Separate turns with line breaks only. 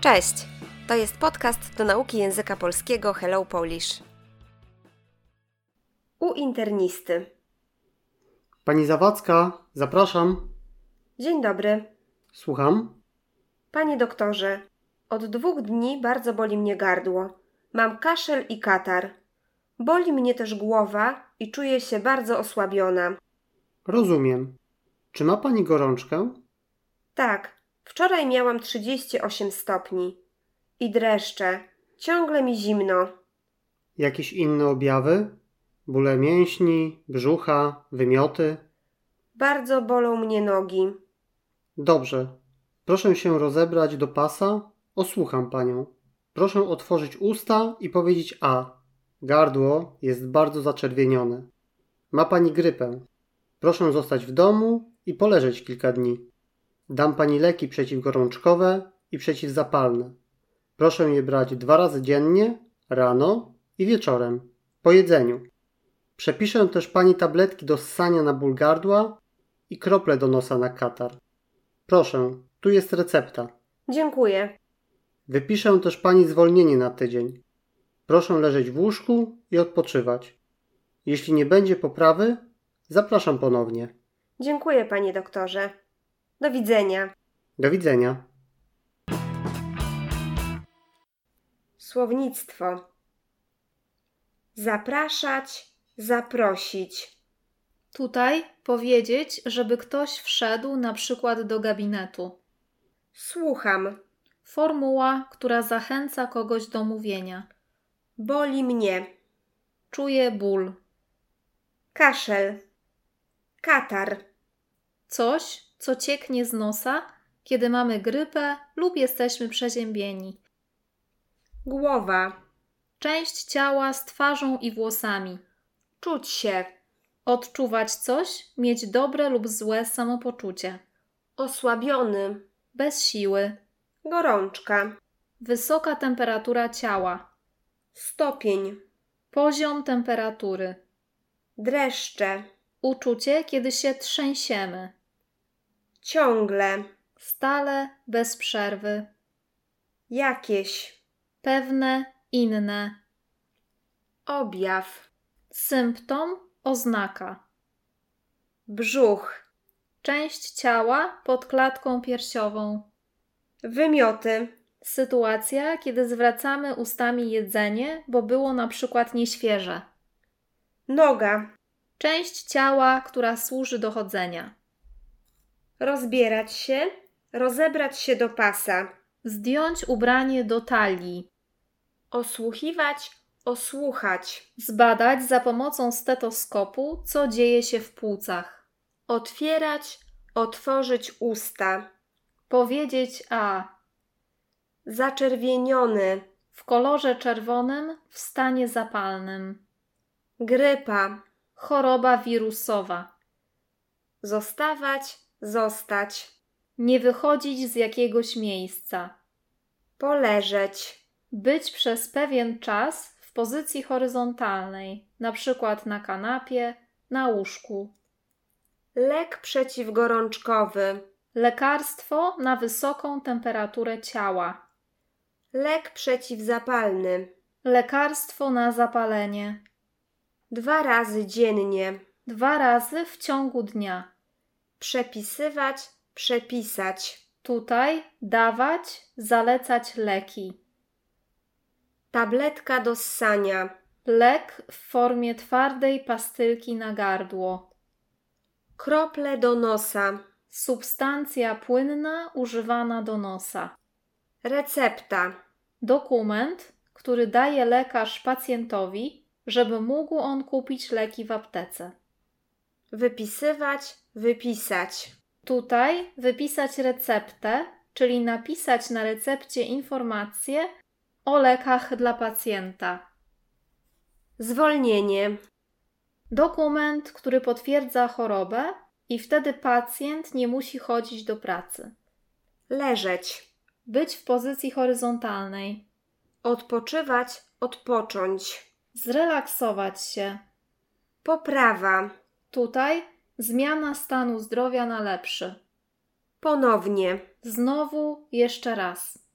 Cześć! To jest podcast do nauki języka polskiego Hello Polish. U internisty.
Pani Zawadzka, zapraszam.
Dzień dobry.
Słucham.
Panie doktorze, od dwóch dni bardzo boli mnie gardło. Mam kaszel i katar. Boli mnie też głowa i czuję się bardzo osłabiona.
Rozumiem. Czy ma pani gorączkę?
Tak, wczoraj miałam 38 stopni. I dreszcze. Ciągle mi zimno.
Jakieś inne objawy? Bóle mięśni, brzucha, wymioty?
Bardzo bolą mnie nogi.
Dobrze. Proszę się rozebrać do pasa. Osłucham panią. Proszę otworzyć usta i powiedzieć A. Gardło jest bardzo zaczerwienione. Ma pani grypę. Proszę zostać w domu i poleżeć kilka dni. Dam pani leki przeciwgorączkowe i przeciwzapalne. Proszę je brać dwa razy dziennie, rano i wieczorem, po jedzeniu. Przepiszę też pani tabletki do ssania na ból gardła i krople do nosa na katar. Proszę, tu jest recepta.
Dziękuję.
Wypiszę też pani zwolnienie na tydzień. Proszę leżeć w łóżku i odpoczywać. Jeśli nie będzie poprawy, zapraszam ponownie.
Dziękuję, panie doktorze. Do widzenia.
Do widzenia.
Słownictwo. Zapraszać, zaprosić.
Tutaj powiedzieć, żeby ktoś wszedł na przykład do gabinetu.
Słucham.
Formuła, która zachęca kogoś do mówienia.
Boli mnie.
Czuje ból.
Kaszel. Katar.
Coś, co cieknie z nosa, kiedy mamy grypę lub jesteśmy przeziębieni.
Głowa.
Część ciała z twarzą i włosami.
Czuć się.
Odczuwać coś, mieć dobre lub złe samopoczucie.
Osłabiony.
Bez siły.
Gorączka.
Wysoka temperatura ciała.
Stopień.
Poziom temperatury.
Dreszcze.
Uczucie, kiedy się trzęsiemy.
Ciągle.
Stale, bez przerwy.
Jakieś.
Pewne, inne.
Objaw.
Symptom, oznaka.
Brzuch.
Część ciała pod klatką piersiową.
Wymioty.
Sytuacja, kiedy zwracamy ustami jedzenie, bo było na przykład nieświeże.
Noga.
Część ciała, która służy do chodzenia.
Rozbierać się. Rozebrać się do pasa.
Zdjąć ubranie do talii.
Osłuchiwać. Osłuchać.
Zbadać za pomocą stetoskopu, co dzieje się w płucach.
Otwierać. Otworzyć usta.
Powiedzieć A.
Zaczerwieniony.
W kolorze czerwonym, w stanie zapalnym.
Grypa.
Choroba wirusowa.
Zostawać. Zostać.
Nie wychodzić z jakiegoś miejsca.
Poleżeć.
Być przez pewien czas w pozycji horyzontalnej, na przykład na kanapie, na łóżku.
Lek przeciwgorączkowy.
Lekarstwo na wysoką temperaturę ciała.
Lek przeciwzapalny.
Lekarstwo na zapalenie.
Dwa razy dziennie.
Dwa razy w ciągu dnia.
Przepisywać, przepisać.
Tutaj dawać, zalecać leki.
Tabletka do ssania.
Lek w formie twardej pastylki na gardło.
Krople do nosa.
Substancja płynna używana do nosa.
Recepta.
dokument, który daje lekarz pacjentowi, żeby mógł on kupić leki w aptece.
Wypisywać, wypisać.
Tutaj wypisać receptę, czyli napisać na recepcie informację o lekach dla pacjenta.
Zwolnienie.
Dokument, który potwierdza chorobę i wtedy pacjent nie musi chodzić do pracy.
Leżeć.
Być w pozycji horyzontalnej,
Odpoczywać, odpocząć.
zrelaksować się.
Poprawa.
Tutaj zmiana stanu zdrowia na lepszy.
Ponownie.
Znowu jeszcze raz.